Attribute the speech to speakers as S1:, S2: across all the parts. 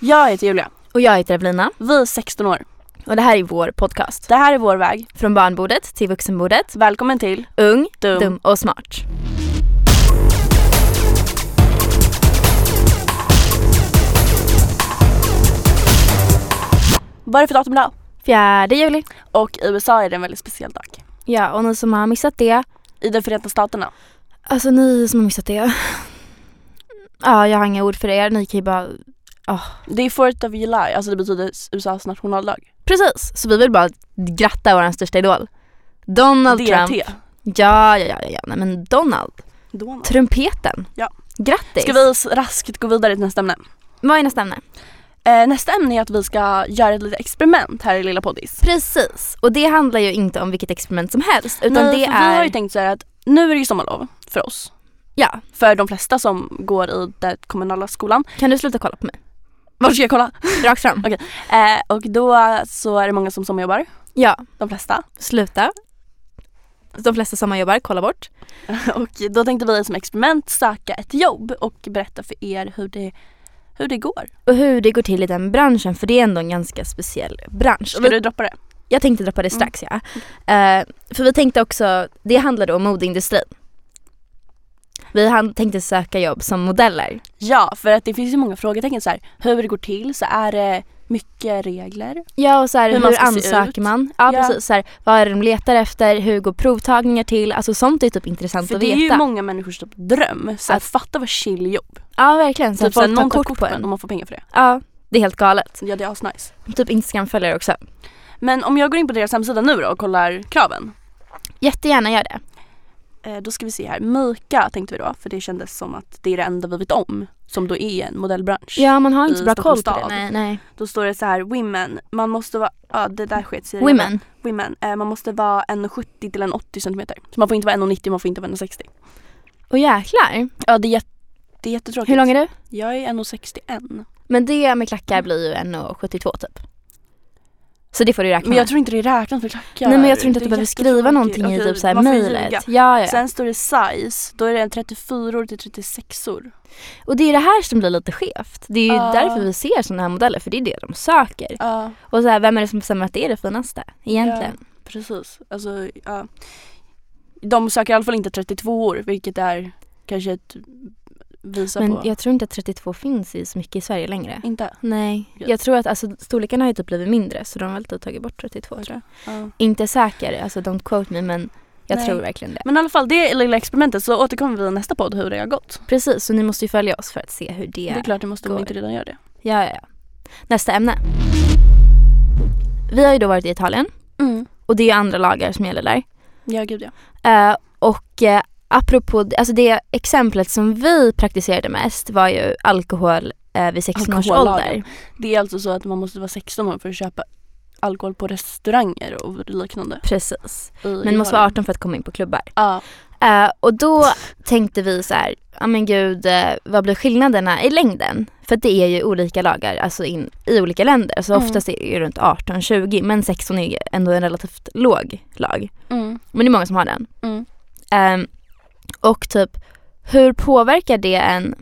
S1: Jag heter Julia.
S2: Och jag heter Evelina.
S1: Vi är 16 år.
S2: Och det här är vår podcast.
S1: Det här är vår väg.
S2: Från barnbordet till vuxenbordet.
S1: Välkommen till
S2: Ung,
S1: Dum.
S2: dum och smart.
S1: Vad är det för datum idag?
S2: Fjärde juli.
S1: Och i USA är det en väldigt speciell dag.
S2: Ja, och ni som har missat det.
S1: I de Förenta Staterna.
S2: Alltså ni som har missat det. Ja, jag har inga ord för er. Ni kan ju bara...
S1: Det är 4th of July, alltså det betyder USAs nationaldag.
S2: Precis, så vi vill bara gratta vår största idol. Donald Trump.
S1: DT.
S2: Ja, ja, ja, ja, ja. Nej, men Donald.
S1: Donald.
S2: Trumpeten.
S1: Ja.
S2: Grattis.
S1: Ska vi s- raskt gå vidare till nästa ämne?
S2: Vad är nästa ämne?
S1: Eh, nästa ämne är att vi ska göra ett litet experiment här i Lilla Poddis.
S2: Precis, och det handlar ju inte om vilket experiment som helst utan
S1: Nej,
S2: det
S1: för Vi har
S2: är...
S1: ju tänkt så här att nu är det ju sommarlov för oss.
S2: Ja,
S1: För de flesta som går i den kommunala skolan.
S2: kan du sluta kolla på mig?
S1: Var ska jag kolla?
S2: Rakt fram.
S1: Eh, och då så är det många som sommarjobbar.
S2: Ja,
S1: De flesta.
S2: sluta. De flesta sommarjobbar, kolla bort.
S1: Och då tänkte vi som experiment söka ett jobb och berätta för er hur det, hur det går.
S2: Och hur det går till i den branschen för det är ändå en ganska speciell bransch.
S1: Ska du droppa det?
S2: Jag tänkte droppa det strax ja. Eh, för vi tänkte också, det handlade om modeindustrin. Vi han- tänkte söka jobb som modeller.
S1: Ja, för att det finns ju många frågetecken så här. Hur det går till, så är det mycket regler?
S2: Ja och så här,
S1: Hur
S2: hur,
S1: man ska se ut.
S2: ansöker man?
S1: Ja.
S2: Ja, precis. Så här, vad är det de letar efter? Hur går provtagningar till? Alltså sånt är typ intressant
S1: För
S2: att
S1: det är ju
S2: veta.
S1: många människors typ dröm. Så att fatta vad chill jobb.
S2: ja verkligen. Så
S1: Typ
S2: att
S1: såhär
S2: folk tar
S1: någon
S2: kort på
S1: och
S2: en.
S1: man får pengar för det.
S2: Ja, det är helt galet.
S1: Ja det är asnice.
S2: Typ Instagram-följare också.
S1: Men om jag går in på deras hemsida nu då och kollar kraven.
S2: Jättegärna gör det.
S1: Eh, då ska vi se här. Mika tänkte vi då för det kändes som att det är det enda vi vet om. Som då är en modellbransch.
S2: Ja man har inte
S1: I
S2: så bra koll på
S1: Stockholms
S2: det.
S1: stad.
S2: Nej, nej.
S1: Då står det så här women. Man måste vara, ja det där sket sig.
S2: Women.
S1: Women. Eh, man måste vara 1,70 till 1,80 centimeter. Så man får inte vara 1,90 man får inte vara 1,60.
S2: Och jäklar.
S1: Ja det är, jätt, det är jättetråkigt.
S2: Hur lång är du?
S1: Jag är 1,61.
S2: Men det med klackar blir ju 1,72 typ. Så det får du räkna
S1: Men jag
S2: med.
S1: tror inte det är räknat för klackar.
S2: Nej men jag tror inte
S1: Det är
S2: att du behöver skriva
S1: jättetråkigt.
S2: någonting i
S1: Okej,
S2: typ såhär
S1: man får ju
S2: mejlet.
S1: ljuga.
S2: Ja, ja, ja.
S1: Sen står det size. Då är det 34 till 36 or
S2: Och det är det här som blir lite skevt. Det är ju
S1: Ja.
S2: därför vi ser sådana här modeller för det är det de söker.
S1: Ja,
S2: Och så här, vem är det som bestämmer att det är det finaste egentligen?
S1: precis. Alltså, ja. De söker i alla fall inte 32 år vilket är kanske ett visar
S2: Men
S1: på...
S2: jag tror inte att 32 finns i så mycket i Sverige längre.
S1: Inte?
S2: Nej,
S1: Okej.
S2: jag tror att alltså, storlekarna har ju typ blivit mindre så de har väl typ tagit bort 32 tror jag.
S1: Ja.
S2: Inte säker, alltså don't quote me men jag
S1: Nej.
S2: tror verkligen det.
S1: Men i alla fall det lilla experimentet så återkommer vi i nästa podd hur det har gått.
S2: Precis, så ni måste ju följa oss för att se hur det...
S1: Det är klart det måste om
S2: går.
S1: ni inte redan gör det.
S2: Ja, ja, ja. Nästa ämne. Vi har ju då varit i Italien
S1: Mm.
S2: och det är ju andra lagar som gäller där.
S1: Ja gud ja.
S2: Eh, och eh, apropå, alltså det exemplet som vi praktiserade mest var ju alkohol eh, vid 16 års
S1: Alkohollagen.
S2: ålder.
S1: Det är alltså så att man måste vara 16 år för att köpa alkohol på restauranger och liknande.
S2: Precis.
S1: i
S2: Men måste vara
S1: Italien.
S2: 18 för att komma in på klubbar.
S1: Ja.
S2: Eh, och då tänkte vi så här, ja men gud, eh, vad blir skillnaderna i längden? För att det är ju olika lagar alltså in, i olika länder. Så
S1: Mm.
S2: oftast är det ju runt 18-20 men 16 är ju ändå en relativt låg lag.
S1: Mm.
S2: Men det är många som har den.
S1: Mm.
S2: Ehm, och typ, hur påverkar det en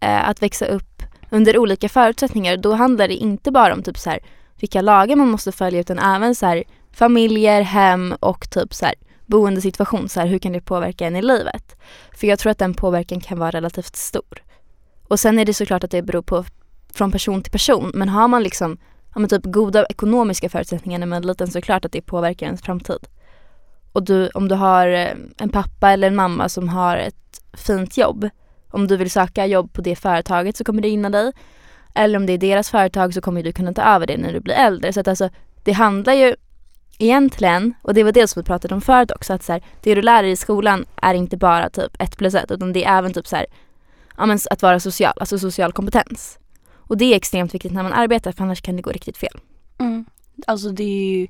S2: eh, att växa upp under olika förutsättningar? Då handlar det inte bara om typ så här, vilka lagar man måste följa utan även så här, familjer, hem och typ så här, boendesituation. Så här, hur kan det påverka en i livet? För jag tror att den påverkan kan vara relativt stor. Och sen är det såklart att det beror på från person till person. Men har man liksom ja, men typ goda ekonomiska förutsättningar när man är liten så är det klart att det påverkar ens framtid och du, om du har eh, en pappa eller en mamma som har ett fint jobb, om du vill söka jobb på det företaget så kommer det gynna dig. Eller om det är deras företag så kommer du kunna ta över det när du blir äldre. Så att alltså, det handlar ju egentligen, och det var det som vi pratade om förut också, att så här, det du lär dig i skolan är inte bara typ ett plus ett utan det är även typ så här, ja, men att vara social, alltså social kompetens. Och det är extremt viktigt när man arbetar för annars kan det gå riktigt fel.
S1: Mm. Alltså det är ju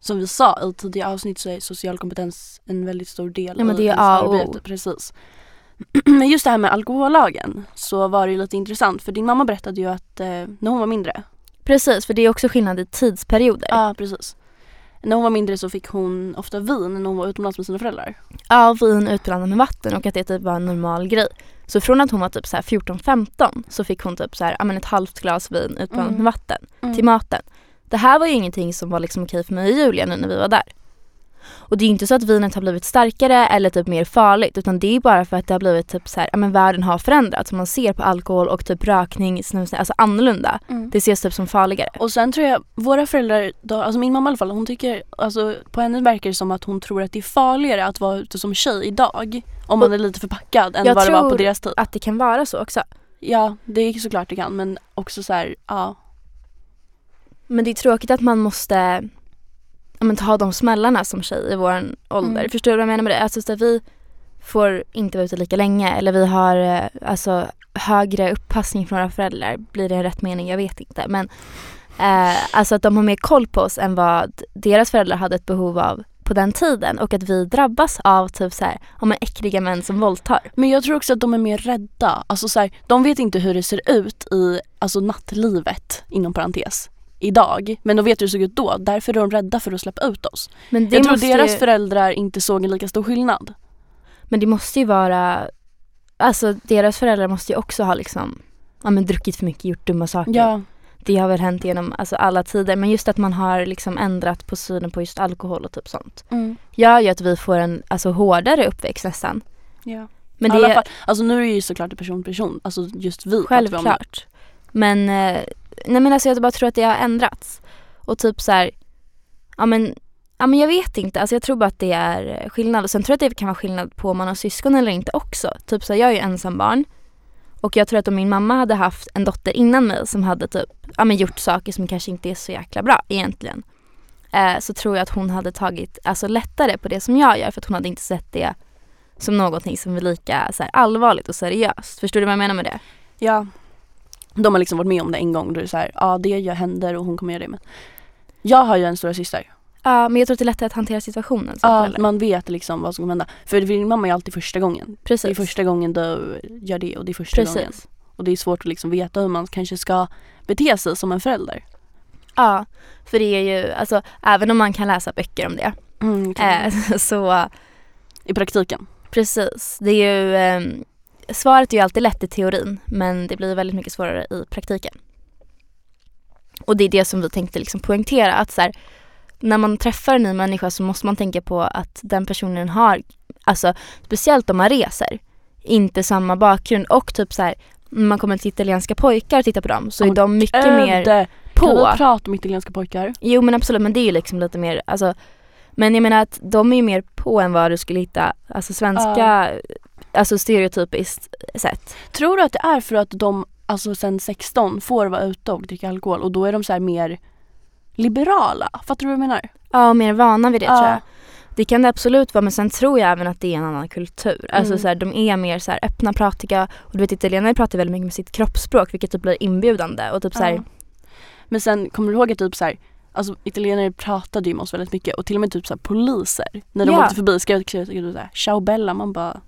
S1: som vi sa i tidigare avsnitt så är social kompetens en väldigt stor del
S2: Ja, men
S1: i
S2: det är
S1: ens
S2: A och O.
S1: arbete. Precis. Men just det här med alkohollagen så var det ju lite intressant för din mamma berättade ju att eh, när hon var mindre.
S2: Precis, för det är också skillnad i tidsperioder.
S1: Ja precis. När hon var mindre så fick hon ofta vin när hon var utomlands med sina föräldrar.
S2: Ja, och vin utblandat med vatten och att det typ var en normal grej. Så från att hon var typ så här 14-15 så fick hon typ så här, ja, men ett halvt glas vin utblandat
S1: Mm.
S2: med vatten till maten. Det här var ju ingenting som var liksom okej för mig och Julia nu när vi var där. Och det är ju inte så att vinet har blivit starkare eller typ mer farligt utan det är ju bara för att det har blivit typ så här, ja men världen har förändrats. Man ser på alkohol och typ rökning, snus, alltså annorlunda.
S1: Mm.
S2: Det ses typ som farligare.
S1: Och sen tror jag våra föräldrar, då, alltså min mamma i alla fall, hon tycker, alltså på henne verkar det som att hon tror att det är farligare att vara ute som tjej idag om man är lite förpackad än
S2: Jag
S1: vad det var på
S2: tror-
S1: deras tid.
S2: Att det kan vara så också.
S1: Ja, det är såklart det kan men också så här, ja.
S2: Men det är tråkigt att man måste ja, men, ta de smällarna som tjej i vår ålder.
S1: Mm.
S2: Förstår du vad jag menar med det? Alltså, så att vi får inte vara ute lika länge eller vi har eh, alltså, högre upppassning från våra föräldrar. Blir det en rätt mening? Jag vet inte. Men eh, alltså att de har mer koll på oss än vad deras föräldrar hade ett behov av på den tiden och att vi drabbas av typ så här, om en äckliga män som våldtar.
S1: Men jag tror också att de är mer rädda. Alltså så här, de vet inte hur det ser ut i alltså nattlivet inom parentes idag. Men de vet hur det såg ut då. Därför är de rädda för att släppa ut oss.
S2: Men det,
S1: jag tror
S2: måste
S1: deras
S2: ju,
S1: föräldrar inte såg en lika stor skillnad.
S2: men det måste ju vara, alltså deras föräldrar måste ju också ha liksom, ja men druckit för mycket, gjort dumma saker.
S1: Ja.
S2: det har väl hänt genom alltså, alla tider men just att man har liksom ändrat på synen på just alkohol och typ sånt
S1: Mm.
S2: gör ju att vi får en alltså, hårdare uppväxt nästan.
S1: ja.
S2: Men
S1: I
S2: det
S1: alla
S2: är
S1: fall, alltså nu är det ju såklart en person till person. Alltså just vi pratar vi om nu.
S2: självklart. Men, eh, nej, men alltså, jag bara tror att det har ändrats. Och typ så här, ja men, ja, men jag vet inte. Alltså, jag tror bara att det är skillnad. Och sen tror jag att det kan vara skillnad på om man har syskon eller inte också. Typ så här, jag är ju ensambarn. Och jag tror att om min mamma hade haft en dotter innan mig som hade typ, ja, men gjort saker som kanske inte är så jäkla bra egentligen. Eh, så tror jag att hon hade tagit alltså, lättare på det som jag gör för att hon hade inte sett det som någonting som är lika så här, allvarligt och seriöst. Förstår du vad jag menar med det?
S1: Ja. De har liksom varit med om det en gång. Då är det så här, ja det jag händer och hon kommer göra det. Men jag har ju en stora syster.
S2: Ja, men jag tror att det är lättare att hantera situationen som
S1: Ja,
S2: förälder.
S1: man vet liksom vad som kommer hända. För din mamma är alltid första gången. Det är
S2: Precis.
S1: första gången du gör det och det är första gången.
S2: Precis.
S1: Och det är svårt att liksom veta hur man kanske ska bete sig som en förälder.
S2: Ja, för det är ju, alltså även om man kan läsa böcker om det,
S1: Eh,
S2: eh, så
S1: I praktiken.
S2: precis. Det är ju, ehm, svaret är ju alltid lätt i teorin, men det blir väldigt mycket svårare i praktiken. Och det är det som vi tänkte liksom poängtera, att så här, när man träffar en ny människa så måste man tänka på att den personen har, alltså speciellt om man reser, inte samma bakgrund och typ så här, när man kommer till italienska pojkar och tittar på dem så är
S1: Och
S2: de mycket mer
S1: Öde!
S2: på.
S1: Kan vi prata om italienska pojkar?
S2: Jo men absolut, men det är ju liksom lite mer, alltså, men jag menar att de är ju mer på än vad du skulle hitta, alltså svenska, alltså stereotypiskt sett.
S1: Tror du att det är för att de alltså sen 16 får vara ute och dricka alkohol och då är de så här mer liberala? Fattar du vad jag menar?
S2: Ja, och mer vana vid det
S1: Ja.
S2: tror jag. Det kan det absolut vara men sen tror jag även att det är en annan kultur. Alltså
S1: Mm.
S2: så här, de är mer så här öppna, pratiga och du vet italienare pratar väldigt mycket med sitt kroppsspråk vilket typ blir inbjudande och typ så här,
S1: Ja. Men sen kommer du ihåg att typ så här, alltså italienare pratade ju med oss väldigt mycket och till och med typ så här poliser. När de
S2: Ja.
S1: åkte förbi skrev skrev de så här ciao bella, man bara,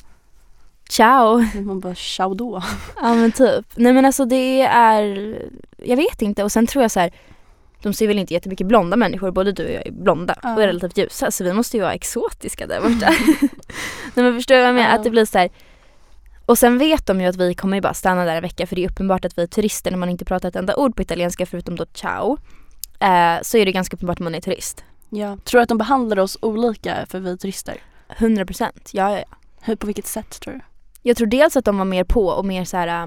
S2: ciao.
S1: man bara ciao då.
S2: Ja men typ. Nej men alltså det är, jag vet inte och sen tror jag så här. De ser väl inte jättemycket blonda människor, både du och jag är blonda
S1: Ja.
S2: och är relativt ljusa så vi måste ju vara exotiska där borta. Nej men förstår du vad jag menar?
S1: Ja.
S2: Att det blir så här. Och sen vet de ju att vi kommer ju bara stanna där en vecka för det är uppenbart att vi är turister när man inte pratar ett enda ord på italienska förutom då ciao. Eh, så är det ganska uppenbart att man är turist.
S1: Ja. Tror du att de behandlar oss olika för vi är turister?
S2: 100% ja ja ja.
S1: Hur, på vilket sätt tror du?
S2: Jag tror dels att de var mer på och mer så här, eh,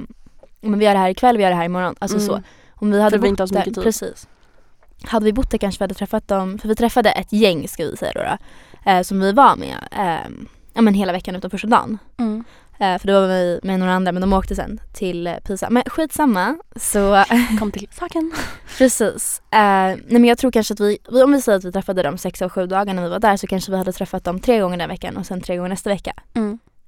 S2: men vi gör det här ikväll, vi gör det här imorgon. Alltså
S1: Mm.
S2: så. Om vi hade
S1: För vi
S2: bott
S1: inte har så
S2: där,
S1: mycket tid.
S2: Precis. Hade vi bott där kanske vi hade träffat dem, för vi träffade ett gäng ska vi säga då, då eh, som vi var med eh, ja, men hela veckan utom första dagen. Eh, för då var vi med några andra men de åkte sen till eh, Pisa. Men skitsamma. Så
S1: Kom till saken.
S2: precis. Eh, nej men jag tror kanske att vi, vi- om vi säger att vi träffade dem sex av sju dagar när vi var där så kanske vi hade träffat dem tre gånger den veckan och sen tre gånger nästa vecka.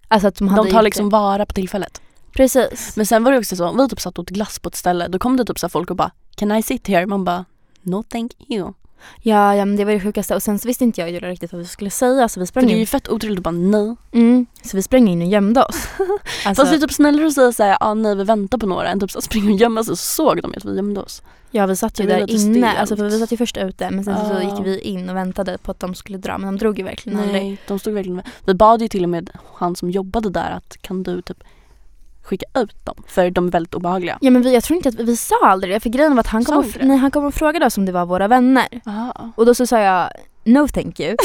S2: Alltså att de hade
S1: De
S2: gjort
S1: tar
S2: det.
S1: liksom vara på tillfället.
S2: Precis.
S1: Men sen var det också så, vi typ satt och åt glass på ett ställe, då kom det typ så här folk och bara Can I sit here? Man bara No thank you.
S2: Ja, ja men det var det sjukaste. Och sen så visste inte jag och Julia riktigt vad vi skulle säga så vi
S1: För
S2: sprang
S1: det är ju
S2: in.
S1: fett otroligt att bara nej.
S2: Mm, så vi sprang in och gömde oss. Alltså,
S1: Fast det är typ snällare att säga såhär, ah, nej vi väntar på några än typ såhär, springa och gömma sig så såg de ju att vi gömde oss.
S2: ja, vi satt ju
S1: det blir
S2: där
S1: lite
S2: inne.
S1: stelt.
S2: Alltså, för vi satt ju först ute men sen så
S1: Ja.
S2: gick vi in och väntade på att de skulle dra. Men de drog ju verkligen aldrig.
S1: Nej, de stod verkligen med. Vi bad ju till och med han som jobbade där att kan du typ skicka ut dem? För de är väldigt obehagliga.
S2: Ja men vi, jag tror inte att vi, vi sa aldrig det för grejen var att han
S1: Sa
S2: kom, och,
S1: inte
S2: fr-
S1: det?
S2: nej, han kom och frågade oss om det var våra vänner.
S1: Aha.
S2: Och då så sa jag no thank you.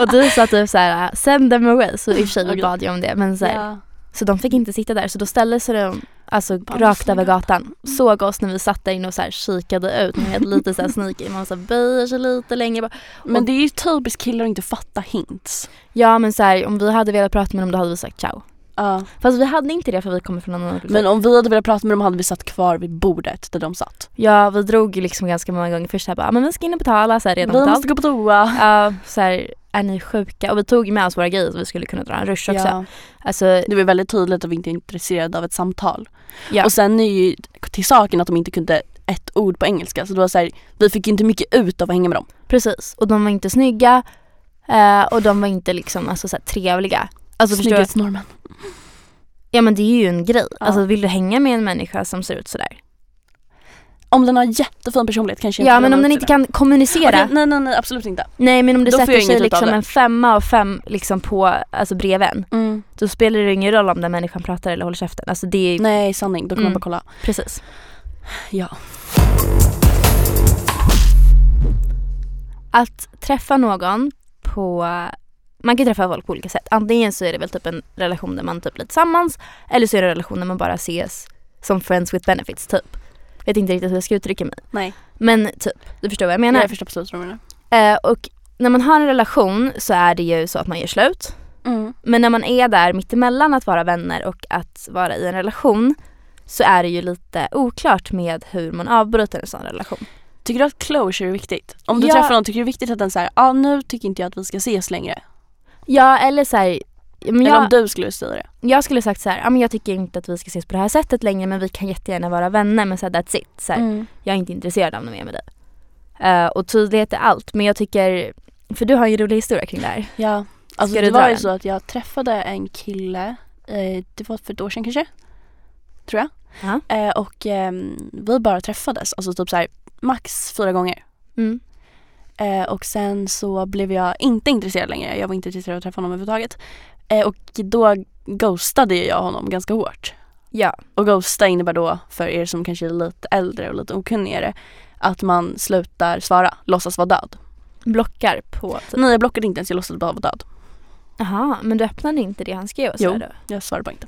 S2: och du sa typ såhär send them away. Så i och för sig vi
S1: Okej.
S2: bad ju om det men så, här,
S1: Ja.
S2: så de fick inte sitta där så då ställde sig de alltså,
S1: Bara
S2: rakt
S1: så
S2: över
S1: gott.
S2: gatan. Såg oss när vi satt där inne och så här, kikade ut. Man hade lite såhär sneaky, man så här, böjer sig lite längre bak.
S1: Men det är ju typiskt killar att inte fatta hints.
S2: Ja men såhär om vi hade velat prata med dem då hade vi sagt ciao.
S1: Ja.
S2: Fast vi hade inte det för vi kommer från en annan
S1: Men om vi hade velat prata med dem hade vi satt kvar vid bordet där de satt.
S2: Ja vi drog ju liksom ganska många gånger först här bara, "Ah, men vi ska in och betala så här, redan
S1: vi
S2: betalt.
S1: måste gå på toa.
S2: Ja, så här, är ni sjuka? Och vi tog med oss våra grejer så vi skulle kunna dra en rush också.
S1: Ja.
S2: Alltså,
S1: Det var väldigt tydligt att vi inte är intresserade av ett samtal.
S2: Ja.
S1: Och sen är ju till saken att de inte kunde ett ord på engelska. Så det var så här, vi fick ju inte mycket ut av att hänga med
S2: Alltså,
S1: dem.
S2: precis. Och de var inte snygga eh, och de var inte liksom alltså, så här, trevliga. Alltså, förstår du?
S1: Snygghetsnormen.
S2: Ja men det är ju en grej.
S1: Ja.
S2: Alltså vill du hänga med en människa som ser ut sådär?
S1: Om den har jättefin personlighet kanske
S2: Ja men
S1: vill
S2: om
S1: ha ut
S2: den inte
S1: sig
S2: kan
S1: då.
S2: kommunicera.
S1: Okej, nej nej nej absolut inte.
S2: Nej men om det
S1: Då får
S2: sätter
S1: jag
S2: sig
S1: inget utav
S2: liksom
S1: det.
S2: en femma och fem liksom på, alltså bredvid en. Då spelar det ingen roll om den människan pratar eller håller käften. Alltså det är ju,
S1: Nej sanning, då kan
S2: Mm.
S1: man bara kolla.
S2: precis.
S1: Ja.
S2: Att träffa någon på, man kan ju träffa folk på olika sätt. Antingen så är det väl typ en relation där man typ blir tillsammans eller så är det en relation där man bara ses som friends with benefits typ. Vet inte riktigt hur jag ska uttrycka mig.
S1: Nej.
S2: Men typ, du förstår vad jag menar.
S1: Jag förstår absolut vad du menar.
S2: Eh, och när man har en relation så är det ju så att man gör slut. Men när man är där mittemellan att vara vänner och att vara i en relation så är det ju lite oklart med hur man avbryter en sån relation.
S1: Tycker du att closure är viktigt? Om du
S2: Ja.
S1: träffar någon, tycker du det är viktigt att den säger ah, nu tycker inte jag att vi ska ses längre?
S2: Ja eller så här, ja, men
S1: Eller om
S2: jag,
S1: du skulle säga det.
S2: jag skulle sagt så här, ja, men jag tycker inte att vi ska ses på det här sättet längre men vi kan jättegärna vara vänner men så här, that's it. Så här,
S1: Mm.
S2: Jag är inte intresserad av något mer med dig. Eh, och tydlighet är allt men jag tycker, för du har ju en rolig historia kring det här.
S1: Ja. Alltså
S2: Ska
S1: det
S2: du dra
S1: var ju
S2: den?
S1: så att jag träffade en kille, eh, det var för ett år sedan kanske, tror jag.
S2: Ja.
S1: Eh, och ehm, vi bara träffades, alltså typ så här, max fyra gånger.
S2: Mm.
S1: Eh, och sen så blev jag inte intresserad längre. Jag var inte intresserad av att träffa honom överhuvudtaget. Eh, och då ghostade jag honom ganska hårt.
S2: Ja,
S1: Och ghosta innebär då, för er som kanske är lite äldre och lite okunnigare, att man slutar svara, låtsas vara död.
S2: blockar på typ.
S1: Nej jag blockade inte ens, jag låtsades bara vara död.
S2: Jaha, men du öppnade inte det han skrev? och Så
S1: Jo.
S2: här då?
S1: Jag svarade bara inte.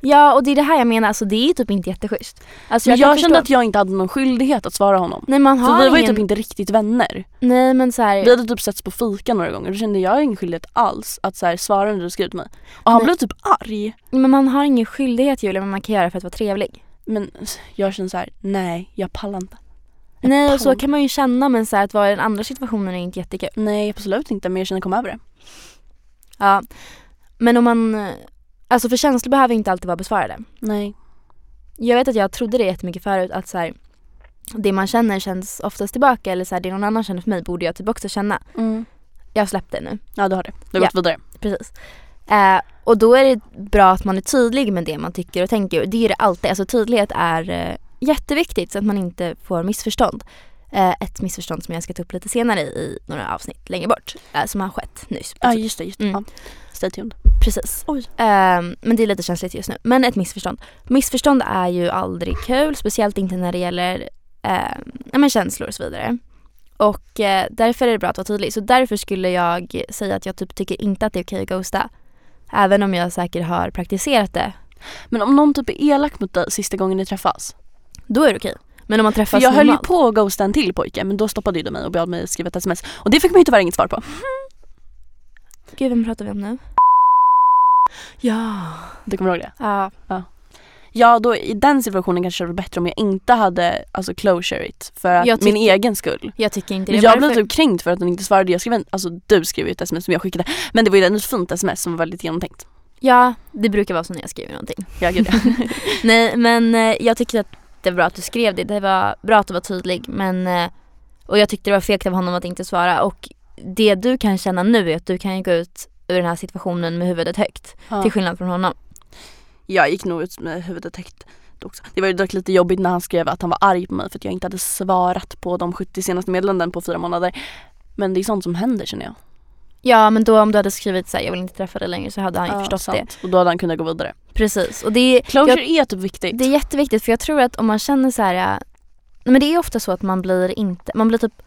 S2: Ja och det är det här jag menar, alltså det är ju typ inte jätteschysst. Alltså,
S1: Men jag,
S2: kan
S1: kände
S2: förstå-
S1: att jag inte hade någon skyldighet att svara honom.
S2: Nej man
S1: För
S2: har
S1: vi var ju
S2: ingen...
S1: typ inte riktigt vänner.
S2: Nej men så här...
S1: Vi hade typ setts på fika några gånger och då kände jag ingen skyldighet alls att så här, svara när du skrev till mig. Och han
S2: Nej.
S1: blev typ arg.
S2: men man har ingen skyldighet Julia men man kan göra för att vara trevlig.
S1: Men jag kände så här: nej jag pallar inte.
S2: Nej och så
S1: pallar.
S2: kan man ju känna men så här, att vara i den andra situationen är inte jättekul.
S1: Nej absolut inte men jag kände kom över det.
S2: Ja. Men om man... eh, Alltså för känslor behöver inte alltid vara besvarade.
S1: Nej.
S2: Jag vet att jag trodde det jättemycket förut att så här, det man känner känns oftast tillbaka eller så här, det någon annan känner för mig borde jag typ också känna. Jag har släppt det nu.
S1: Mm. Ja du har det. Du har
S2: Ja.
S1: gått vidare.
S2: Precis. Eh, och då är det bra att man är tydlig med det man tycker och tänker. Och Det är det alltid. Alltså tydlighet är eh, jätteviktigt så att man inte får missförstånd. Eh, ett missförstånd som jag ska ta upp lite senare i några avsnitt längre bort. Eh, som har skett nyss.
S1: Ja just det, just det.
S2: Mm.
S1: Ja. Stay tuned.
S2: Precis.
S1: Oj.
S2: Eh, men det är lite känsligt just nu. Men ett missförstånd. Missförstånd är ju aldrig kul. Speciellt inte när det gäller eh, ja, men känslor och så vidare. Och eh, därför är det bra att vara tydlig. Så därför skulle jag säga att jag typ tycker inte att det är okej att ghosta. Även om jag säkert har praktiserat det.
S1: Men om någon typ är elak mot dig sista gången ni träffas.
S2: Då är det okej. Men om man
S1: För
S2: träffas
S1: jag höll ju
S2: normalt.
S1: på att ghosta en till pojke men då stoppade ju du mig och bad mig skriva ett sms. Och det fick man ju tyvärr inget svar på.
S2: Gud, vem pratar vi om nu? Ja.
S1: Du kommer ihåg det?
S2: Ja.
S1: Ja då i den situationen kanske det var bättre om jag inte hade alltså closure it för att
S2: Jag
S1: min
S2: tycker-
S1: egen skull.
S2: Jag tycker inte det.
S1: Men jag
S2: Varför-
S1: blev typ kränkt för att den inte svarade. Jag skrev en, alltså du skrev ju ett sms som jag skickade. Men det var ju ändå ett fint sms som var väldigt genomtänkt.
S2: Ja, det brukar vara så när jag skriver någonting.
S1: Ja, gud, ja.
S2: Nej, men eh, jag tycker att det var bra att du skrev det. Det var bra att du var tydlig. Men eh, Och jag tyckte det var fegt av honom att inte svara och det du kan känna nu är att du kan ju gå ut ur den här situationen med huvudet högt. Till
S1: Ja.
S2: skillnad från honom.
S1: Jag gick nog ut med huvudet högt också. Det var ju dock lite jobbigt när han skrev att han var arg på mig för att jag inte hade svarat på de 70 senaste meddelanden på fyra månader. Men det är sånt som händer känner jag.
S2: Ja men då om du hade skrivit så här, jag vill inte träffa dig längre så hade han ju förstått det.
S1: Och då hade han kunnat gå vidare.
S2: Precis och det är,
S1: Closure är typ viktigt.
S2: det är jätteviktigt för jag tror att om man känner så här, äh, nej men det är ofta så att man blir inte, man blir typ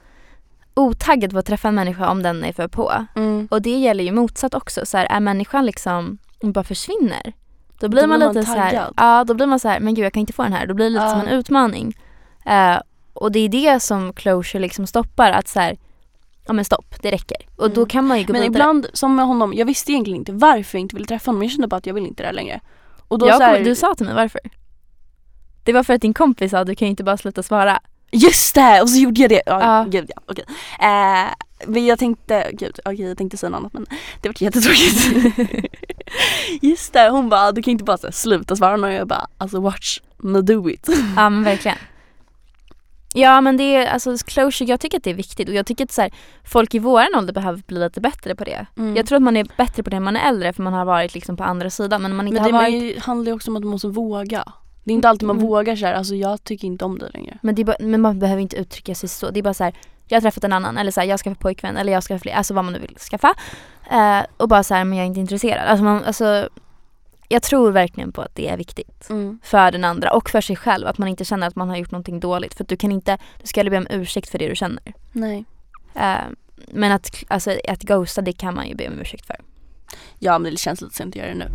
S2: otaggad på att träffa en människa om den är för på.
S1: Mm.
S2: Och det gäller ju motsatt också, så här, är människan liksom, hon bara försvinner. Då blir man,
S1: blir man
S2: lite så här,
S1: taggad.
S2: ja då blir man så här, men gud jag kan inte få den här. Då blir det lite
S1: Ja.
S2: som en utmaning. Eh, och det är det som closure liksom stoppar, att så här, ja men stopp, det räcker. Och då
S1: Mm.
S2: kan man ju gå
S1: Men
S2: vidare.
S1: ibland, som med honom, jag visste egentligen inte varför jag inte ville träffa honom. Jag kände bara att jag vill inte det här längre. Och då
S2: jag
S1: så här,
S2: kommer- Du sa till mig varför. Det var för att din kompis sa, du kan ju inte bara sluta svara.
S1: Just det! Och så gjorde jag det. Ja,
S2: Ja.
S1: gud ja, okej. Eh, men jag tänkte, gud okej jag tänkte säga något annat men det var jättetråkigt. Just det, hon bara du kan inte bara så här, sluta svara och jag bara alltså watch me do it.
S2: Ja men verkligen. Ja men det är, alltså closure, jag tycker att det är viktigt och jag tycker att så här, folk i våran ålder behöver bli lite bättre på det. Jag tror att man är bättre på det när man är äldre för man har varit liksom på andra sidan men man inte
S1: men det
S2: har
S1: man
S2: varit...
S1: ju, handlar ju också om att man måste våga. Det är inte alltid man
S2: Mm.
S1: vågar såhär, alltså jag tycker inte om dig längre.
S2: Men, det är bara, men man behöver inte uttrycka sig så. Det är bara så här, jag har träffat en annan eller så här, jag skaffar pojkvän eller jag skaffar fler, alltså vad man nu vill skaffa. Eh, och bara så här, men jag är inte intresserad. Alltså, man, alltså, jag tror verkligen på att det är viktigt för den andra och för sig själv att man inte känner att man har gjort någonting dåligt för att du kan inte, du ska aldrig be om ursäkt för det du känner.
S1: Nej.
S2: Eh, men att, alltså, att ghosta det kan man ju be om ursäkt för.
S1: Ja men det känns lite sent att göra det nu.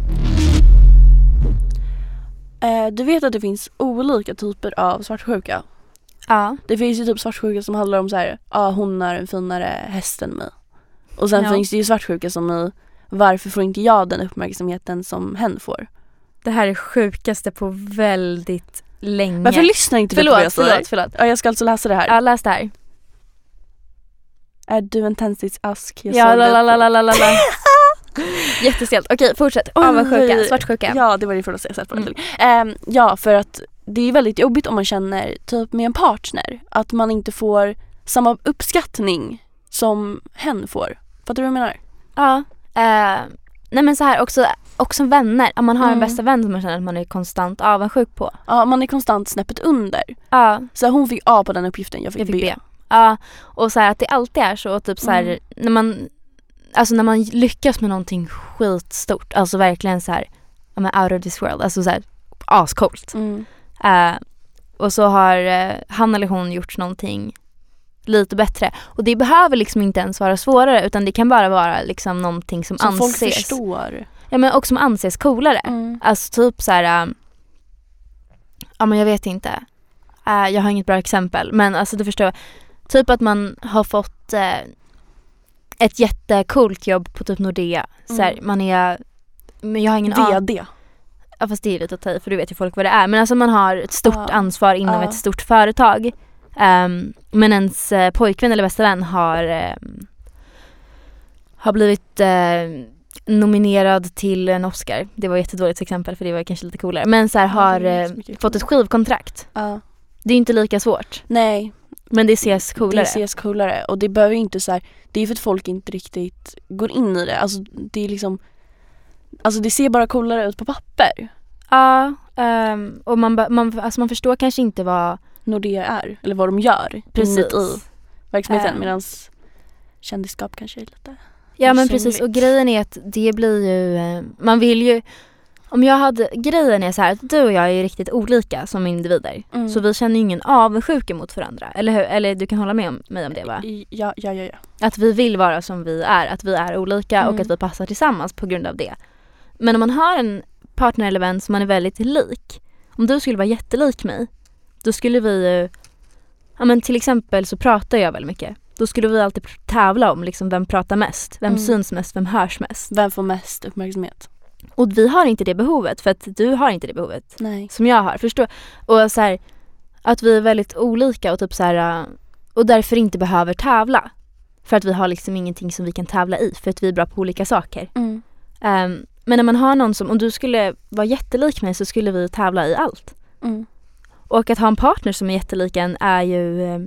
S1: Eh, du vet att det finns olika typer av svartsjuka?
S2: Ja.
S1: Det finns ju typ svartsjuka som handlar om så här, ja hon är en finare häst än mig. Och sen
S2: Ja.
S1: finns det ju svartsjuka som i, varför får inte jag den uppmärksamheten som hen får?
S2: Mm. Det här är sjukaste på väldigt länge.
S1: Varför lyssnar inte du på vad jag
S2: förlåt,
S1: säger?
S2: förlåt, förlåt.
S1: Ja, jag ska alltså läsa det här.
S2: Ja, läs det här.
S1: Är du en tändsticksask? Jag
S2: Ja,
S1: såg
S2: la,
S1: det
S2: la,
S1: på-
S2: la, la, la, la. Jättestelt. Okej, fortsätt. Oj, vad sjuka.
S1: Oj.
S2: Svartsjuka.
S1: Ja, det var det första jag sett på
S2: Mm.
S1: mm. Ja, för att det är väldigt jobbigt om man känner, typ med en partner, att man inte får samma uppskattning som hen får. Fattar du vad jag menar?
S2: Ja. Eh, nej men så här också, och som vänner. Om man har en
S1: Mm.
S2: bästa vän som man känner att man är konstant avundsjuk på.
S1: Ja, man är konstant snäppet under.
S2: Ja,
S1: Så hon fick A på den uppgiften, jag fick,
S2: jag fick
S1: B.
S2: B. Ja, och så här att det alltid är så. och Typ så här,
S1: Mm.
S2: när man, alltså när man lyckas med någonting skitstort. Alltså verkligen så här, ja men out of this world. Alltså så här, ascoolt.
S1: Mm.
S2: Eh, och så har eh, han eller hon gjort någonting lite bättre. Och det behöver liksom inte ens vara svårare utan det kan bara vara liksom någonting som,
S1: Som folk
S2: anses...
S1: förstår. Mm.
S2: Ja, men, och som anses coolare. Alltså typ så här... eh, ja men jag vet inte. Eh, jag har inget bra exempel men alltså du förstår. Typ att man har fått eh, ett jättecoolt jobb på typ Nordea. Så här,
S1: Mm.
S2: man är... Men jag har ingen aning.
S1: VD.
S2: Ja fast det är lite att ta i för du vet ju folk vad det är. Men alltså man har ett stort
S1: Ja.
S2: ansvar inom
S1: Ja.
S2: ett stort företag. Ehm, men ens eh, pojkvän eller bästa vän har, ehm, har blivit eh, nominerad till en Oscar. Det var ett jättedåligt exempel för det var kanske lite coolare. Men så här, har
S1: det är
S2: eh,
S1: så mycket
S2: fått ett skivkontrakt.
S1: Ja.
S2: Det är inte lika svårt.
S1: Nej,
S2: Men det ses
S1: det
S2: coolare.
S1: ses coolare. Och det behöver ju inte så här, det är för att folk inte riktigt går in i det. Alltså det är liksom, alltså det ser bara coolare ut på papper.
S2: Ja, ehm, och man, ba- man, alltså man förstår kanske inte vad
S1: Nordea är, eller vad de gör inuti verksamheten.
S2: Eh.
S1: Medan kändisskap kanske är lite...
S2: Ja men
S1: Personligt.
S2: precis och grejen är att det blir ju, eh, man vill ju om jag hade, grejen är så här att du och jag är ju riktigt olika som individer. Så
S1: Mm.
S2: vi känner ju ingen avundsjuka mot varandra. Eller hur? Eller du kan hålla med om, mig om det va?
S1: I- Ja, ja, ja. ja.
S2: Att vi vill vara som vi är, att vi är olika och
S1: Mm.
S2: att vi passar tillsammans på grund av det. Men om man har en partner eller vän som man är väldigt lik. Om du skulle vara jättelik mig, då skulle vi ju, ja men till exempel så pratar jag väldigt mycket. Då skulle vi alltid pr- tävla om liksom vem pratar mest, vem
S1: Mm.
S2: syns mest, vem hörs mest.
S1: Vem får mest uppmärksamhet?
S2: Och vi har inte det behovet för att du har inte det behovet
S1: Nej.
S2: som jag har. Förstår? Och så här, att vi är väldigt olika och typ så här, äh, och därför inte behöver tävla. För att vi har liksom ingenting som vi kan tävla i för att vi är bra på olika saker.
S1: Mm.
S2: Ehm, men när man har någon som, om du skulle vara jättelik mig så skulle vi Mm. tävla i allt. Och att ha en partner som är jättelik en är ju, eh,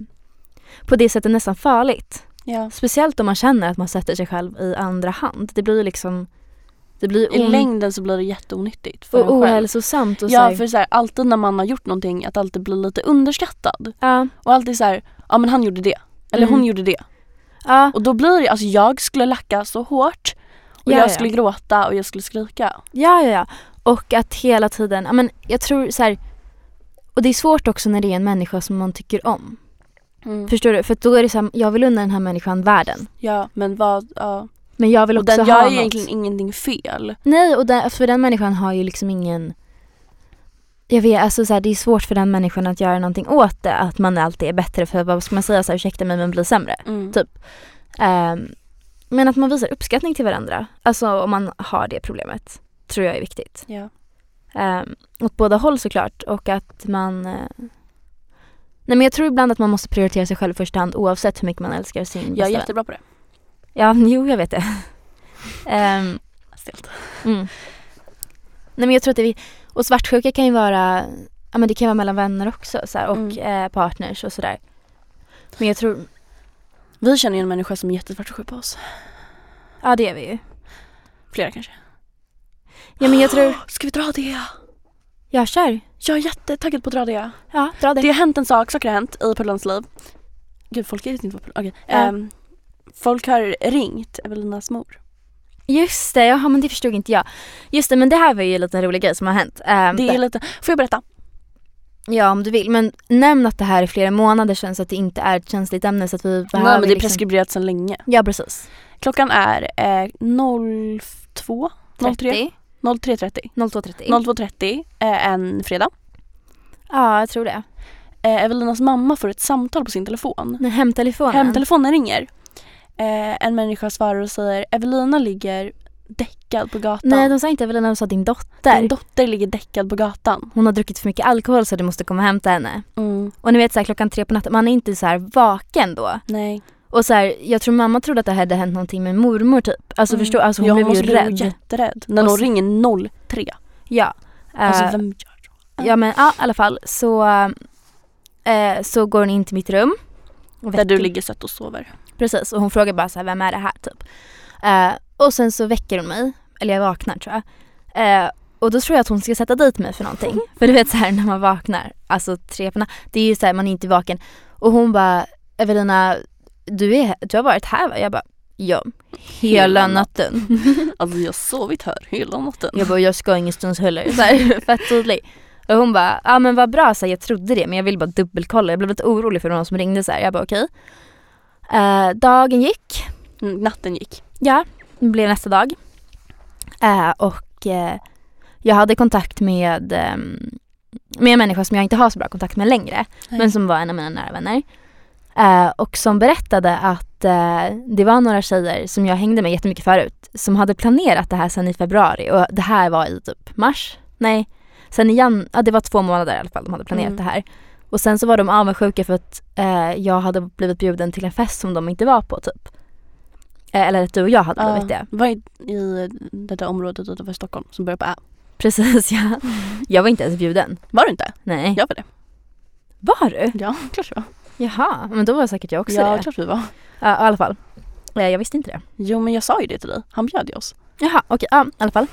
S2: på det sättet nästan farligt.
S1: Ja.
S2: Speciellt om man känner att man sätter sig själv i andra hand. Det blir ju liksom... Det blir
S1: I
S2: on-
S1: längden så blir det jätteonyttigt för
S2: Mm. och
S1: en själv.
S2: ohälsosamt. Och så
S1: Ja
S2: här-
S1: för så här, alltid när man har gjort någonting att alltid bli lite underskattad.
S2: ja,
S1: Och alltid så här, ja men han gjorde det. Eller
S2: Mm.
S1: hon gjorde det.
S2: ja,
S1: Och då blir det, alltså jag skulle lacka så hårt. Och
S2: Ja, ja.
S1: jag skulle gråta och jag skulle skrika.
S2: ja, ja, ja. Och att hela tiden, ja, men jag tror så här... Och det är svårt också när det är en människa som man tycker
S1: Mm.
S2: om. Förstår du? För att då är det så här, jag vill unna den här människan världen.
S1: Ja men vad, ja.
S2: Men jag vill
S1: Och
S2: också
S1: den
S2: ha
S1: gör
S2: något.
S1: ju egentligen ingenting fel.
S2: Nej, och där, för den människan har ju liksom ingen... Jag vet, alltså så här, det är svårt för den människan att göra någonting åt det, att man alltid är bättre. För vad ska man säga, så här, ursäkta mig men bli sämre.
S1: Mm.
S2: Typ. Ehm, men att man visar uppskattning till varandra, alltså om man har det problemet, tror jag är viktigt.
S1: Ja.
S2: Um, åt båda håll såklart och att man... eh, Nej men jag tror ibland att man måste prioritera sig själv i första hand oavsett hur mycket man älskar sin
S1: Jag är
S2: bästa
S1: jättebra på det.
S2: vän. Ja, jo jag vet det. Ehm,
S1: Stelt.
S2: Mm. Nej men jag tror att det vi... Och svartsjuka kan ju vara... Ja men det kan ju vara mellan vänner också så här, och eh, partners och sådär. Men jag tror...
S1: Vi känner ju en människa som är jättesvartsjuk på oss.
S2: Ja det är vi ju.
S1: Flera kanske.
S2: Ja men jag tror...
S1: Ska vi dra det?
S2: Jag kör.
S1: Jag är jättetaggad på att dra det.
S2: Ja, dra det.
S1: Det har hänt en sak, saker har hänt i Pullans liv. Gud, folk vet inte vad Pull- Okej.
S2: Ja.
S1: Ehm, folk har ringt Evelinas mor.
S2: Just det, ja men det förstod inte jag. Just det men det här var ju en liten rolig grej som har hänt. Ehm,
S1: Det är lite, får jag berätta?
S2: Ja om du vill men nämn att det här är flera månader sedan så att det inte är ett känsligt ämne så att vi behöver
S1: Nej men det är
S2: liksom-
S1: preskriberat sedan länge.
S2: Ja precis.
S1: Klockan är eh, 02, 03,
S2: 30,
S1: 03.30.
S2: 02.30.
S1: 02.30 eh, en fredag.
S2: Ja jag tror det.
S1: Eh, Evelinas mamma får ett samtal på sin telefon.
S2: Nej, hemtelefonen.
S1: Hemtelefonen ringer. Eh, en människa svarar och säger Evelina ligger däckad på gatan.
S2: Nej de sa inte Evelina, de sa din dotter.
S1: Din dotter ligger däckad på gatan.
S2: hon har druckit för mycket alkohol så du måste komma och hämta henne.
S1: Mm,
S2: Och ni vet så här, klockan tre på natten, man är inte så här vaken då.
S1: Nej.
S2: Och så här, jag tror mamma trodde att det hade hänt någonting med mormor typ. Alltså
S1: Mm.
S2: förstå, alltså hon
S1: ja,
S2: blev ju
S1: måste bli
S2: rädd.
S1: jätterädd. När
S2: Och
S1: någon
S2: så-
S1: ringer 03.
S2: Ja. Eh,
S1: Alltså vem gör så?
S2: Ja men ja, i alla fall så, eh, så går hon in till mitt rum. Och
S1: Där du
S2: väcker-
S1: ligger sött och sover.
S2: Precis och hon frågar bara så här, vem är det här typ. Eh, och sen så väcker hon mig, eller jag vaknar tror jag. Eh, och då tror jag att hon ska sätta dit mig för någonting. för du vet så här när man vaknar, alltså tre på natt- det är ju så här man är inte vaken. Och hon bara Evelina, du, är, du har varit här va? Jag bara ja, hela
S1: Hela
S2: natten.
S1: Alltså jag har sovit här hela natten.
S2: Jag bara jag ska ingenstans heller. Så här, fett tydlig. Och hon bara, ja men vad bra, så här, jag trodde det men jag ville bara dubbelkolla. Jag blev lite orolig för någon som ringde så här. Jag bara okej. Eh, dagen gick.
S1: Mm, Natten gick.
S2: Ja, det blev nästa dag. Eh, och eh, jag hade kontakt med, ehm, med en människa som jag inte har så bra kontakt med längre.
S1: Nej.
S2: Men som var en av mina nära vänner. Eh, och som berättade att eh, det var några tjejer som jag hängde med jättemycket förut. Som hade planerat det här sedan i februari. Och det här var i typ mars. Nej, sen i jan... Ja, det var två månader i alla fall de hade planerat
S1: Mm.
S2: det här. Och sen så var de avundsjuka för att eh, jag hade blivit bjuden till en fest som de inte var på typ. Eh, eller att du och jag hade blivit det.
S1: Var i, i det där området utanför Stockholm som börjar på Ä.
S2: Precis
S1: Mm.
S2: ja. Jag var inte ens bjuden.
S1: Var du inte?
S2: Nej.
S1: Jag var det.
S2: Var du?
S1: Ja, klart jag var.
S2: Jaha, men då var säkert jag också
S1: Ja,
S2: det.
S1: klart vi var.
S2: Ja, i alla fall. Eh, jag visste inte det.
S1: Jo men jag sa ju det till dig. Han bjöd ju oss.
S2: Jaha, okej. ja, I alla fall.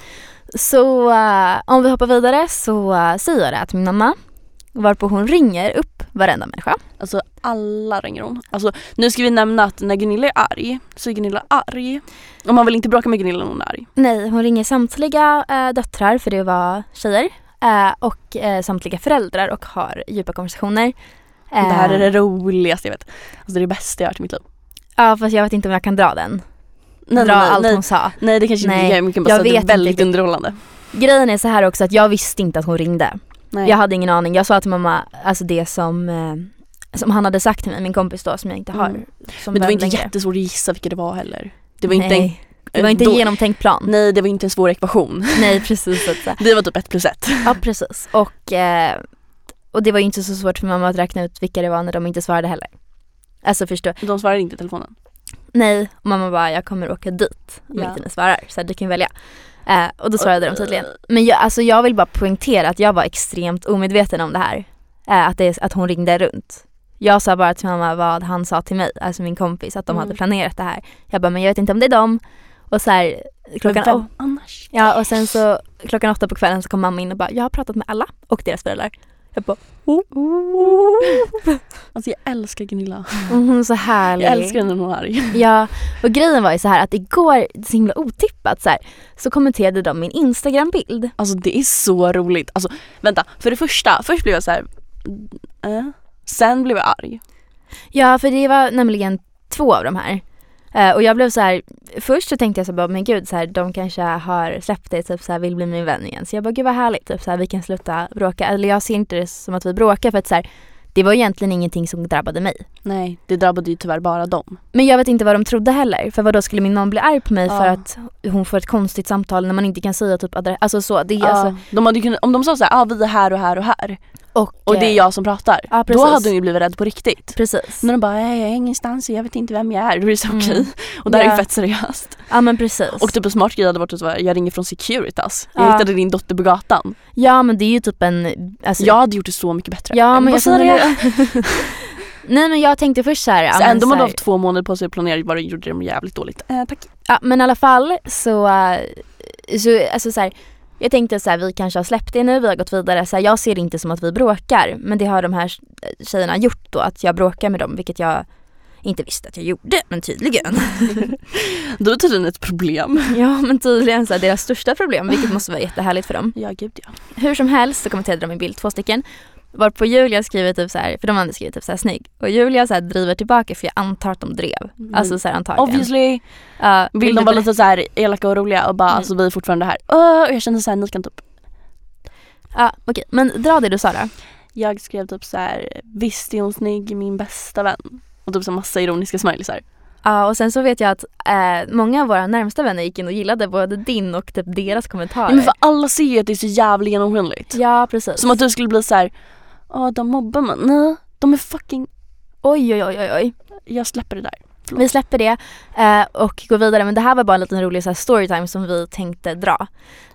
S2: Så eh, om vi hoppar vidare så eh, säger jag det här till min mamma. Varpå hon ringer upp varenda människa.
S1: Alltså alla ringer hon. Alltså nu ska vi nämna att när Gunilla är arg så är Gunilla arg. Och man vill inte bråka med Gunilla när hon är arg.
S2: Nej, hon ringer samtliga eh, döttrar, för det var tjejer. eh, och eh, samtliga föräldrar och har djupa konversationer. Eh,
S1: Det här är det roligaste jag vet. Alltså det är det bästa jag har hört i mitt liv.
S2: Ja, fast jag vet inte om jag kan dra den.
S1: Nej,
S2: dra
S1: nej,
S2: allt
S1: nej,
S2: hon sa.
S1: nej det kanske
S2: Nej,
S1: inte gör, men jag kan bara
S2: jag
S1: säga att det
S2: vet
S1: är väldigt
S2: inte.
S1: underhållande.
S2: Grejen är så här också att jag visste inte att hon ringde.
S1: Nej.
S2: Jag hade ingen aning. Jag sa till mamma, alltså det som, eh, som han hade sagt till mig, min kompis då som jag inte har.
S1: Mm.
S2: Som
S1: men det var
S2: vän
S1: inte
S2: längre.
S1: jättesvårt att gissa vilka det var heller. Det var inte,
S2: Nej.
S1: en,
S2: Det var inte en
S1: då-
S2: genomtänkt plan.
S1: nej, det var inte en svår ekvation.
S2: Nej precis. att säga.
S1: Det var typ ett plus ett.
S2: Ja precis. Och, eh, och det var ju inte så svårt för mamma att räkna ut vilka det var när de inte svarade heller. Alltså förstå.
S1: De svarade inte i telefonen.
S2: Nej. Och mamma bara jag kommer åka dit om
S1: Ja.
S2: inte ni svarar. Så här, du kan välja. Eh, och då svarade de tydligen. Men jag, alltså, jag vill bara poängtera att jag var extremt omedveten om det här. Eh, att, det, att hon ringde runt. Jag sa bara till mamma vad han sa till mig, alltså min kompis, att de
S1: Mm.
S2: hade planerat det här. Jag bara, men jag vet inte om det är dem. Och så här, klockan,
S1: Vem annars?
S2: Ja och sen så klockan åtta på kvällen så kom mamma in och bara jag har pratat med alla och deras föräldrar. Jag bara oh, oh.
S1: Alltså jag älskar Gunilla.
S2: Och Hon är Mm, så härlig.
S1: Jag älskar henne när hon är arg.
S2: Ja och grejen var ju så här att igår, så himla otippat så här, så kommenterade de min Instagram-bild.
S1: Alltså det är så roligt. Alltså vänta, för det första, först blev jag så här. Eh, sen blev jag arg.
S2: Ja för det var nämligen två av de här. Eh, och jag blev så här, först så tänkte jag så här, bara, men gud så här, de kanske har släppt dig, typ så här, vill bli min vän igen. Så jag bara gud vad härligt, typ så här, vi kan sluta bråka. Eller jag ser inte det som att vi bråkar för att så här, det var egentligen ingenting som drabbade mig.
S1: Nej, det drabbade ju tyvärr bara dem.
S2: Men jag vet inte vad de trodde heller. För vad då skulle min någon bli arg på mig för
S1: Ja.
S2: att hon får ett konstigt samtal när man inte kan säga typ adress. Alltså så. Det är alltså,
S1: Alltså, de hade ju kunnat, om de sa så här, ah, vi är här och här och här och det är
S2: eh,
S1: jag som pratar.
S2: Ja,
S1: då
S2: precis.
S1: hade hon ju blivit rädd på riktigt.
S2: Precis.
S1: När de bara, "Nej, jag är ingenstans och jag vet inte vem jag är. Då är det så
S2: Mm.
S1: okej. Och det här är
S2: Ja.
S1: ju fett seriöst.
S2: Ja men precis.
S1: Och typ en smart grej hade varit att så här, jag ringer från Securitas. Jag
S2: Ja.
S1: hittade din dotter på gatan.
S2: ja men det är ju typ en... Alltså,
S1: Jag hade gjort det så mycket bättre.
S2: ja
S1: Vad
S2: men jag
S1: säger
S2: känner
S1: jag?
S2: det. Nej men jag tänkte först såhär. Ja,
S1: Så
S2: men
S1: ändå
S2: så
S1: hade de
S2: här-
S1: haft två månader på sig att planera vad de gjorde de jävligt dåligt. Eh, tack.
S2: Ja men i alla fall så, eh, så alltså så här, jag tänkte så här, vi kanske har släppt det nu, vi har gått vidare. Så här, jag ser det inte som att vi bråkar men det har de här tjejerna gjort då att jag bråkar med dem vilket jag inte visste att jag gjorde men tydligen.
S1: Då är tydligen ett problem.
S2: ja men tydligen så här, deras största problem vilket måste vara jättehärligt för dem.
S1: Ja gud ja.
S2: Hur som helst så kommenterade de min bild, två stycken. Varpå Julia skriver typ så här, för de hade skrivit typ så här snygg. Och Julia så här driver tillbaka för jag antar att de drev.
S1: Mm.
S2: Alltså så här antagligen.
S1: Obviously
S2: Ja,
S1: vill de
S2: vilket-
S1: vara lite så här elaka och roliga och bara
S2: Mm.
S1: alltså vi är fortfarande här. Öh, och jag kände så här, ni kan typ.
S2: Ja okej men dra det du sa då.
S1: Jag skrev typ så här, visst är hon snygg, min bästa vän. Och typ så massa ironiska smileysar.
S2: Ja och sen så vet jag att eh, många av våra närmsta vänner gick in och gillade både din och typ deras kommentarer.
S1: Ja, men för alla ser ju att det är så jävla genomskinligt.
S2: Ja, precis.
S1: Som att du skulle bli så här, ja de mobbar mig. Nej, de är fucking,
S2: Oj oj oj oj oj.
S1: jag släpper det där.
S2: Vi släpper det eh, och går vidare men det här var bara en liten rolig så här, storytime som vi tänkte dra.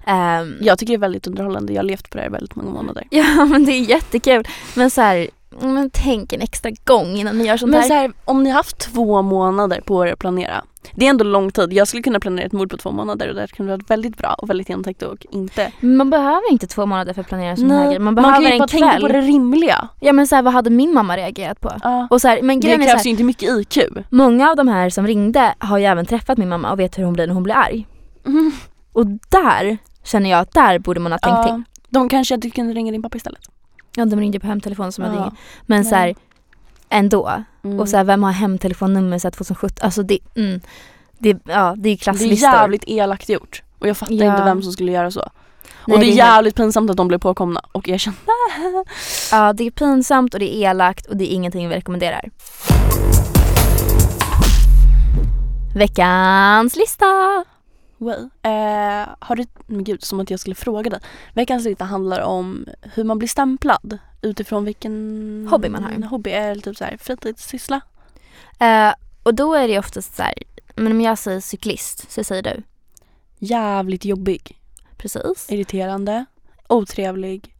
S2: Ehm,
S1: Jag tycker det är väldigt underhållande, jag har levt på det här i väldigt många månader.
S2: ja men det är jättekul. Men så här, men tänk en extra gång innan ni gör sånt
S1: Men
S2: här.
S1: så här, om ni har haft två månader på er att planera. Det är ändå lång tid. Jag skulle kunna planera ett mord på två månader och det här kunde varit väldigt bra och väldigt genomtänkt och inte.
S2: Man behöver inte två månader för att planera en sån här grej. Man behöver
S1: kan ju bara
S2: en
S1: tänka på
S2: kväll.
S1: det rimliga.
S2: Ja men så här, vad hade min mamma reagerat på?
S1: Ja.
S2: Och så här, men
S1: Det
S2: grejen är
S1: krävs
S2: så här,
S1: ju inte mycket IQ.
S2: Många av de här som ringde har ju även träffat min mamma och vet hur hon blir när hon blir arg.
S1: Mm.
S2: Och där känner jag att där borde man ha tänkt till.
S1: Ja. De kanske hade kunnat ringa din pappa istället.
S2: Ja, de ringde på hemtelefon som hade
S1: Ja.
S2: ingen. Men så här, ändå.
S1: Mm.
S2: Och så här, vem har hemtelefonnummer så här 2017? Alltså det, mm, det, ja, det är ju
S1: det är
S2: klasslistor.
S1: jävligt elakt gjort. Och jag fattar
S2: Ja.
S1: inte vem som skulle göra så.
S2: Nej,
S1: och det är
S2: helt-
S1: jävligt pinsamt att de blev påkomna och erkända.
S2: Ja, det är pinsamt och det är elakt och det är ingenting vi rekommenderar. Veckans lista!
S1: Well. Eh, har du, men gud, som att jag skulle fråga dig. Veckans lista handlar om hur man blir stämplad utifrån vilken
S2: Hobby man har.
S1: Hobby eller typ så här fritidssyssla.
S2: Eh, och då är det oftast så här, men om jag säger cyklist så säger du
S1: Jävligt jobbig.
S2: precis.
S1: Irriterande. Otrevlig.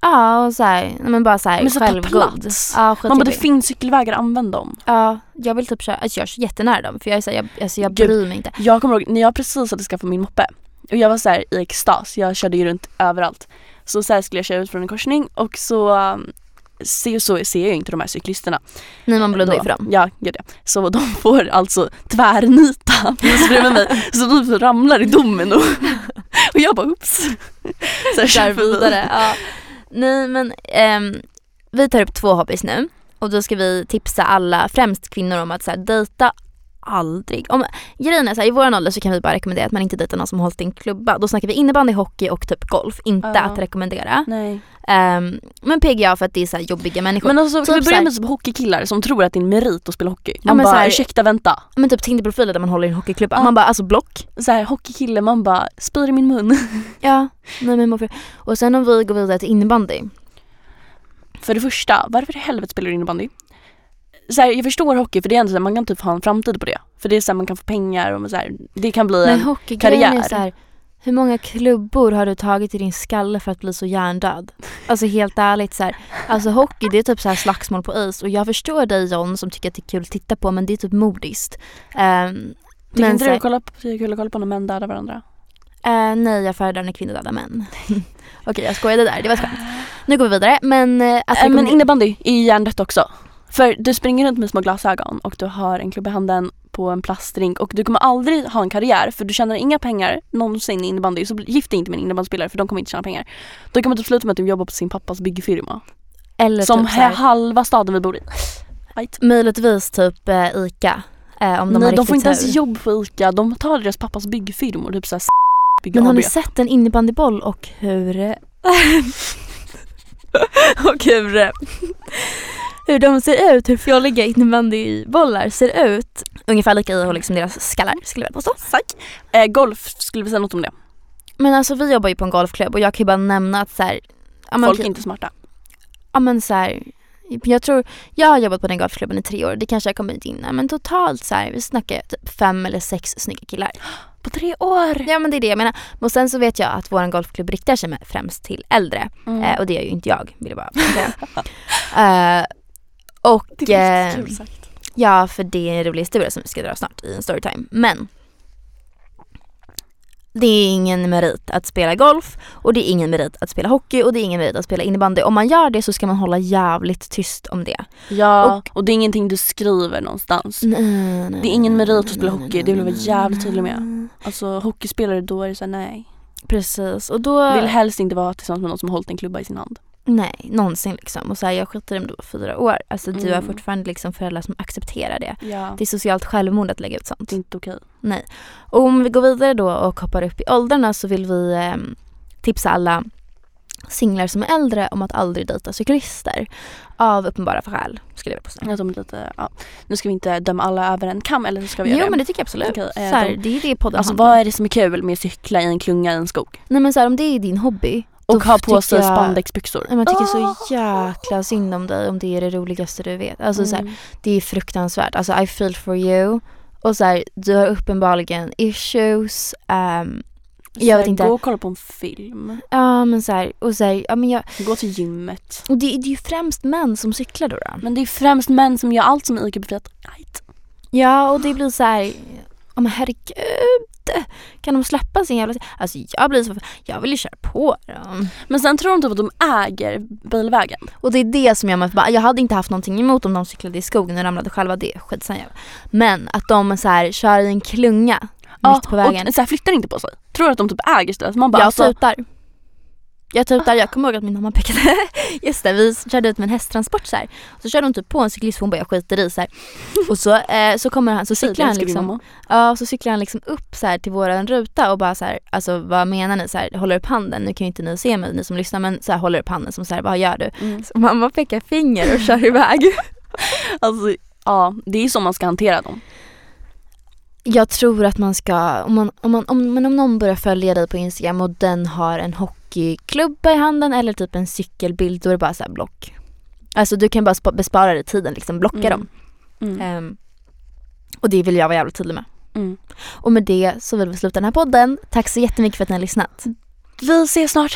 S2: Ja och så här, nej, men bara så här
S1: Men så ta
S2: självgod.
S1: plats.
S2: Ja,
S1: Man bara det
S2: skitjobbig.
S1: finns cykelvägar, använd dem.
S2: ja, jag vill typ köra, alltså jag kör jättenära dem för jag är så här, jag, alltså jag
S1: Gud.
S2: bryr mig inte.
S1: Jag kommer ihåg när jag precis hade skaffat min moppe och jag var så här i extas, jag körde ju runt överallt. Så, så här skulle jag köra ut från en korsning och så um, ser, så ser jag ju inte de här cyklisterna.
S2: Nej man blundar ju
S1: Då-
S2: för dem.
S1: Ja, gud ja. Så de får alltså tvärnita precis bredvid mig. Så de så ramlar i domen och, och jag bara oops. Så jag
S2: Kör
S1: kör förbi.
S2: vidare. Ja. Nej men ehm, vi tar upp två hobbys nu och då ska vi tipsa alla, främst kvinnor om att så här, dejta aldrig. Om, grejen är så här, i våran ålder så kan vi bara rekommendera att man inte dejtar någon som hållit i en klubba. Då snackar vi innebandy, hockey och typ golf. Inte
S1: Ja.
S2: att rekommendera.
S1: Nej.
S2: Ehm, men PGA för att det är så här jobbiga människor.
S1: Men alltså,
S2: Typ
S1: ska vi
S2: så
S1: börjar
S2: här-
S1: med typ hockeykillar som tror att det är en merit att spela hockey. Man
S2: Ja, men
S1: bara
S2: så här-
S1: ursäkta vänta.
S2: Men typ Tinderprofiler där man håller i en hockeyklubba.
S1: Ja.
S2: Man bara alltså block.
S1: Så här, hockeykille man bara spyr i min mun.
S2: Ja. Nej, men varför? Och sen om vi går vidare till innebandy.
S1: För det första, varför i helvete spelar du innebandy? Så här, jag förstår hockey för det är ändå så här, man kan typ ha en framtid på det. För det är så här, man kan få pengar och så här, det kan bli
S2: Men
S1: en...
S2: hockeygrejen är
S1: karriär.
S2: så här, Hur många klubbor har du tagit i din skalle för att bli så hjärndöd? Alltså helt ärligt så här. Alltså hockey det är typ så här slagsmål på is och jag förstår dig John som tycker att det är kul att titta på men det är typ modiskt. Ehm,
S1: Tycker inte
S2: så
S1: du
S2: här-
S1: att kolla på- det är kul att kolla på när män dödar varandra?
S2: Eh, nej, jag föredrar när kvinnor dödar män. Okej, jag skojade där. Det var ett skämt. Nu går vi vidare. Men, eh, att
S1: Äh,
S2: vi
S1: men
S2: kommer-
S1: innebandy är ju hjärndött också. För du springer runt med små glasögon och du har en klubba i handen på en plastdrink och du kommer aldrig ha en karriär för du tjänar inga pengar någonsin i innebandy. Så bli- gift dig inte med en innebandyspelare för de kommer inte tjäna pengar. Då kommer du sluta med att du jobbar på sin pappas byggfirma.
S2: eller
S1: Som
S2: typ, så här,
S1: halva staden vi bor i. Right.
S2: möjligtvis typ eh, ICA. eh, om de har
S1: Nej, de
S2: riktigt
S1: får inte
S2: tur.
S1: ens jobb på ICA. De tar deras pappas byggfirmor. Typ såhär bygga
S2: Men har
S1: AB.
S2: ni sett en innebandyboll och hur... eh, och hur... eh, hur de ser ut, hur fjolliga innebandybollar ser ut. Ungefär lika ihålig som deras skallar skulle jag vilja påstå.
S1: Eh, golf, skulle vi säga något om det?
S2: Men alltså vi jobbar ju på en golfklubb och jag kan ju bara nämna att så här, ja, men
S1: Folk är
S2: okej,
S1: inte smarta.
S2: ja men så här, jag tror, jag har jobbat på den golfklubben i tre år, det kanske jag kommit in i, men totalt så här, vi snackar typ fem eller sex snygga killar.
S1: På tre år!
S2: Ja men det är det jag menar. Och sen så vet jag att vår golfklubb riktar sig med- främst till äldre.
S1: Mm.
S2: Eh, och det är ju inte jag, vill jag bara säga. eh, och,
S1: det är
S2: eh,
S1: riktigt kul sagt.
S2: ja för det är en rolig historia som vi ska dra snart i en storytime. Men det är ingen merit att spela golf och det är ingen merit att spela hockey och det är ingen merit att spela innebandy. Om man gör det så ska man hålla jävligt tyst om det.
S1: Ja, och, det är ingenting du skriver någonstans.
S2: Mm. Nej, nej,
S1: Det är ingen
S2: nej,
S1: merit att
S2: nej,
S1: spela
S2: nej,
S1: hockey,
S2: nej,
S1: det vill jag
S2: nej,
S1: vara
S2: nej,
S1: jävligt tydlig
S2: nej,
S1: med.
S2: nej.
S1: Alltså hockeyspelare då är det såhär nej.
S2: Precis och då...
S1: Vill helst inte vara tillsammans med någon som har hållit en klubba i sin hand.
S2: Nej, någonsin liksom. Och så här, jag skiter i om du var fyra år. Alltså du har
S1: Mm.
S2: fortfarande liksom föräldrar som accepterar det.
S1: Ja.
S2: Det är socialt självmord att lägga ut sånt.
S1: Det är inte okej.
S2: Nej. Och om vi går vidare då och hoppar upp i åldrarna så vill vi ehm, tipsa alla singlar som är äldre om att aldrig dejta cyklister. Av uppenbara skäl, skulle jag vilja påstå.
S1: Att de är lite, ja. Nu ska vi inte döma alla över en kam eller så ska vi
S2: Jo
S1: göra
S2: men
S1: det.
S2: det tycker jag absolut.
S1: Okej, eh,
S2: så här,
S1: de-
S2: det är det podden
S1: Alltså
S2: handlar om.
S1: vad är det som är kul med att cykla i en klunga i en skog?
S2: Nej men så här, om det är din hobby.
S1: Och
S2: då
S1: ha på sig
S2: tycker jag-
S1: spandexbyxor.
S2: Nej, Man tycker så jäkla synd om dig om det är det roligaste du vet. Alltså så
S1: Ah.
S2: här,
S1: Mm.
S2: det är fruktansvärt. Alltså I feel for you. Och så här, du har uppenbarligen issues. ehm,
S1: Så
S2: jag vet
S1: här,
S2: inte.
S1: Gå och kolla på en film.
S2: Ja men så här, och så här, ja men jag,
S1: Gå till gymmet.
S2: och det, det är ju främst män som cyklar då. då.
S1: Men det är främst män som gör allt som är IQ-befriat. Right.
S2: Ja och det blir så här, ja men herregud. Kan de släppa sin jävla... Alltså jag blir så... Jag vill ju köra på dem.
S1: Men sen tror de typ att de äger bilvägen.
S2: Och det är det som gör mig förbannad. Jag hade inte haft någonting emot om de cyklade i skogen och ramlade själva. Det är skitsamma. Men att de så här, kör i en klunga mitt på vägen.
S1: Och så här, flyttar inte på sig. Tror att de typ äger stället. Man bara
S2: Jag
S1: alltså,
S2: tutar. Jag tutar, jag kommer ihåg att min mamma pekade. Just det, vi körde ut med en hästtransport så här. Så körde hon typ på en cyklist, hon bara jag skiter i så här. Och så, eh, så kommer han, så
S1: säg det,
S2: cyklar han
S1: älskar vi
S2: liksom.
S1: mamma.
S2: Ja, och så cyklar han liksom upp så här till våran ruta och bara så här, alltså vad menar ni? Så här, håller upp handen, nu kan ju inte ni se mig ni som lyssnar men så här håller upp handen som så här, vad gör du?
S1: Mm.
S2: Så mamma pekar finger och kör iväg.
S1: Alltså ja, det är så man ska hantera dem.
S2: Jag tror att man ska, om, man, om, man, om, men om någon börjar följa dig på Instagram och den har en hockeyklubba i handen eller typ en cykelbild, då är det bara så här block. Alltså du kan bara spa, bespara dig tiden, liksom blocka
S1: Mm.
S2: dem.
S1: Mm.
S2: Ehm, och det vill jag vara jävligt tydlig med.
S1: Mm.
S2: Och med det så vill vi sluta den här podden. Tack så jättemycket för att ni har lyssnat.
S1: Vi ses snart.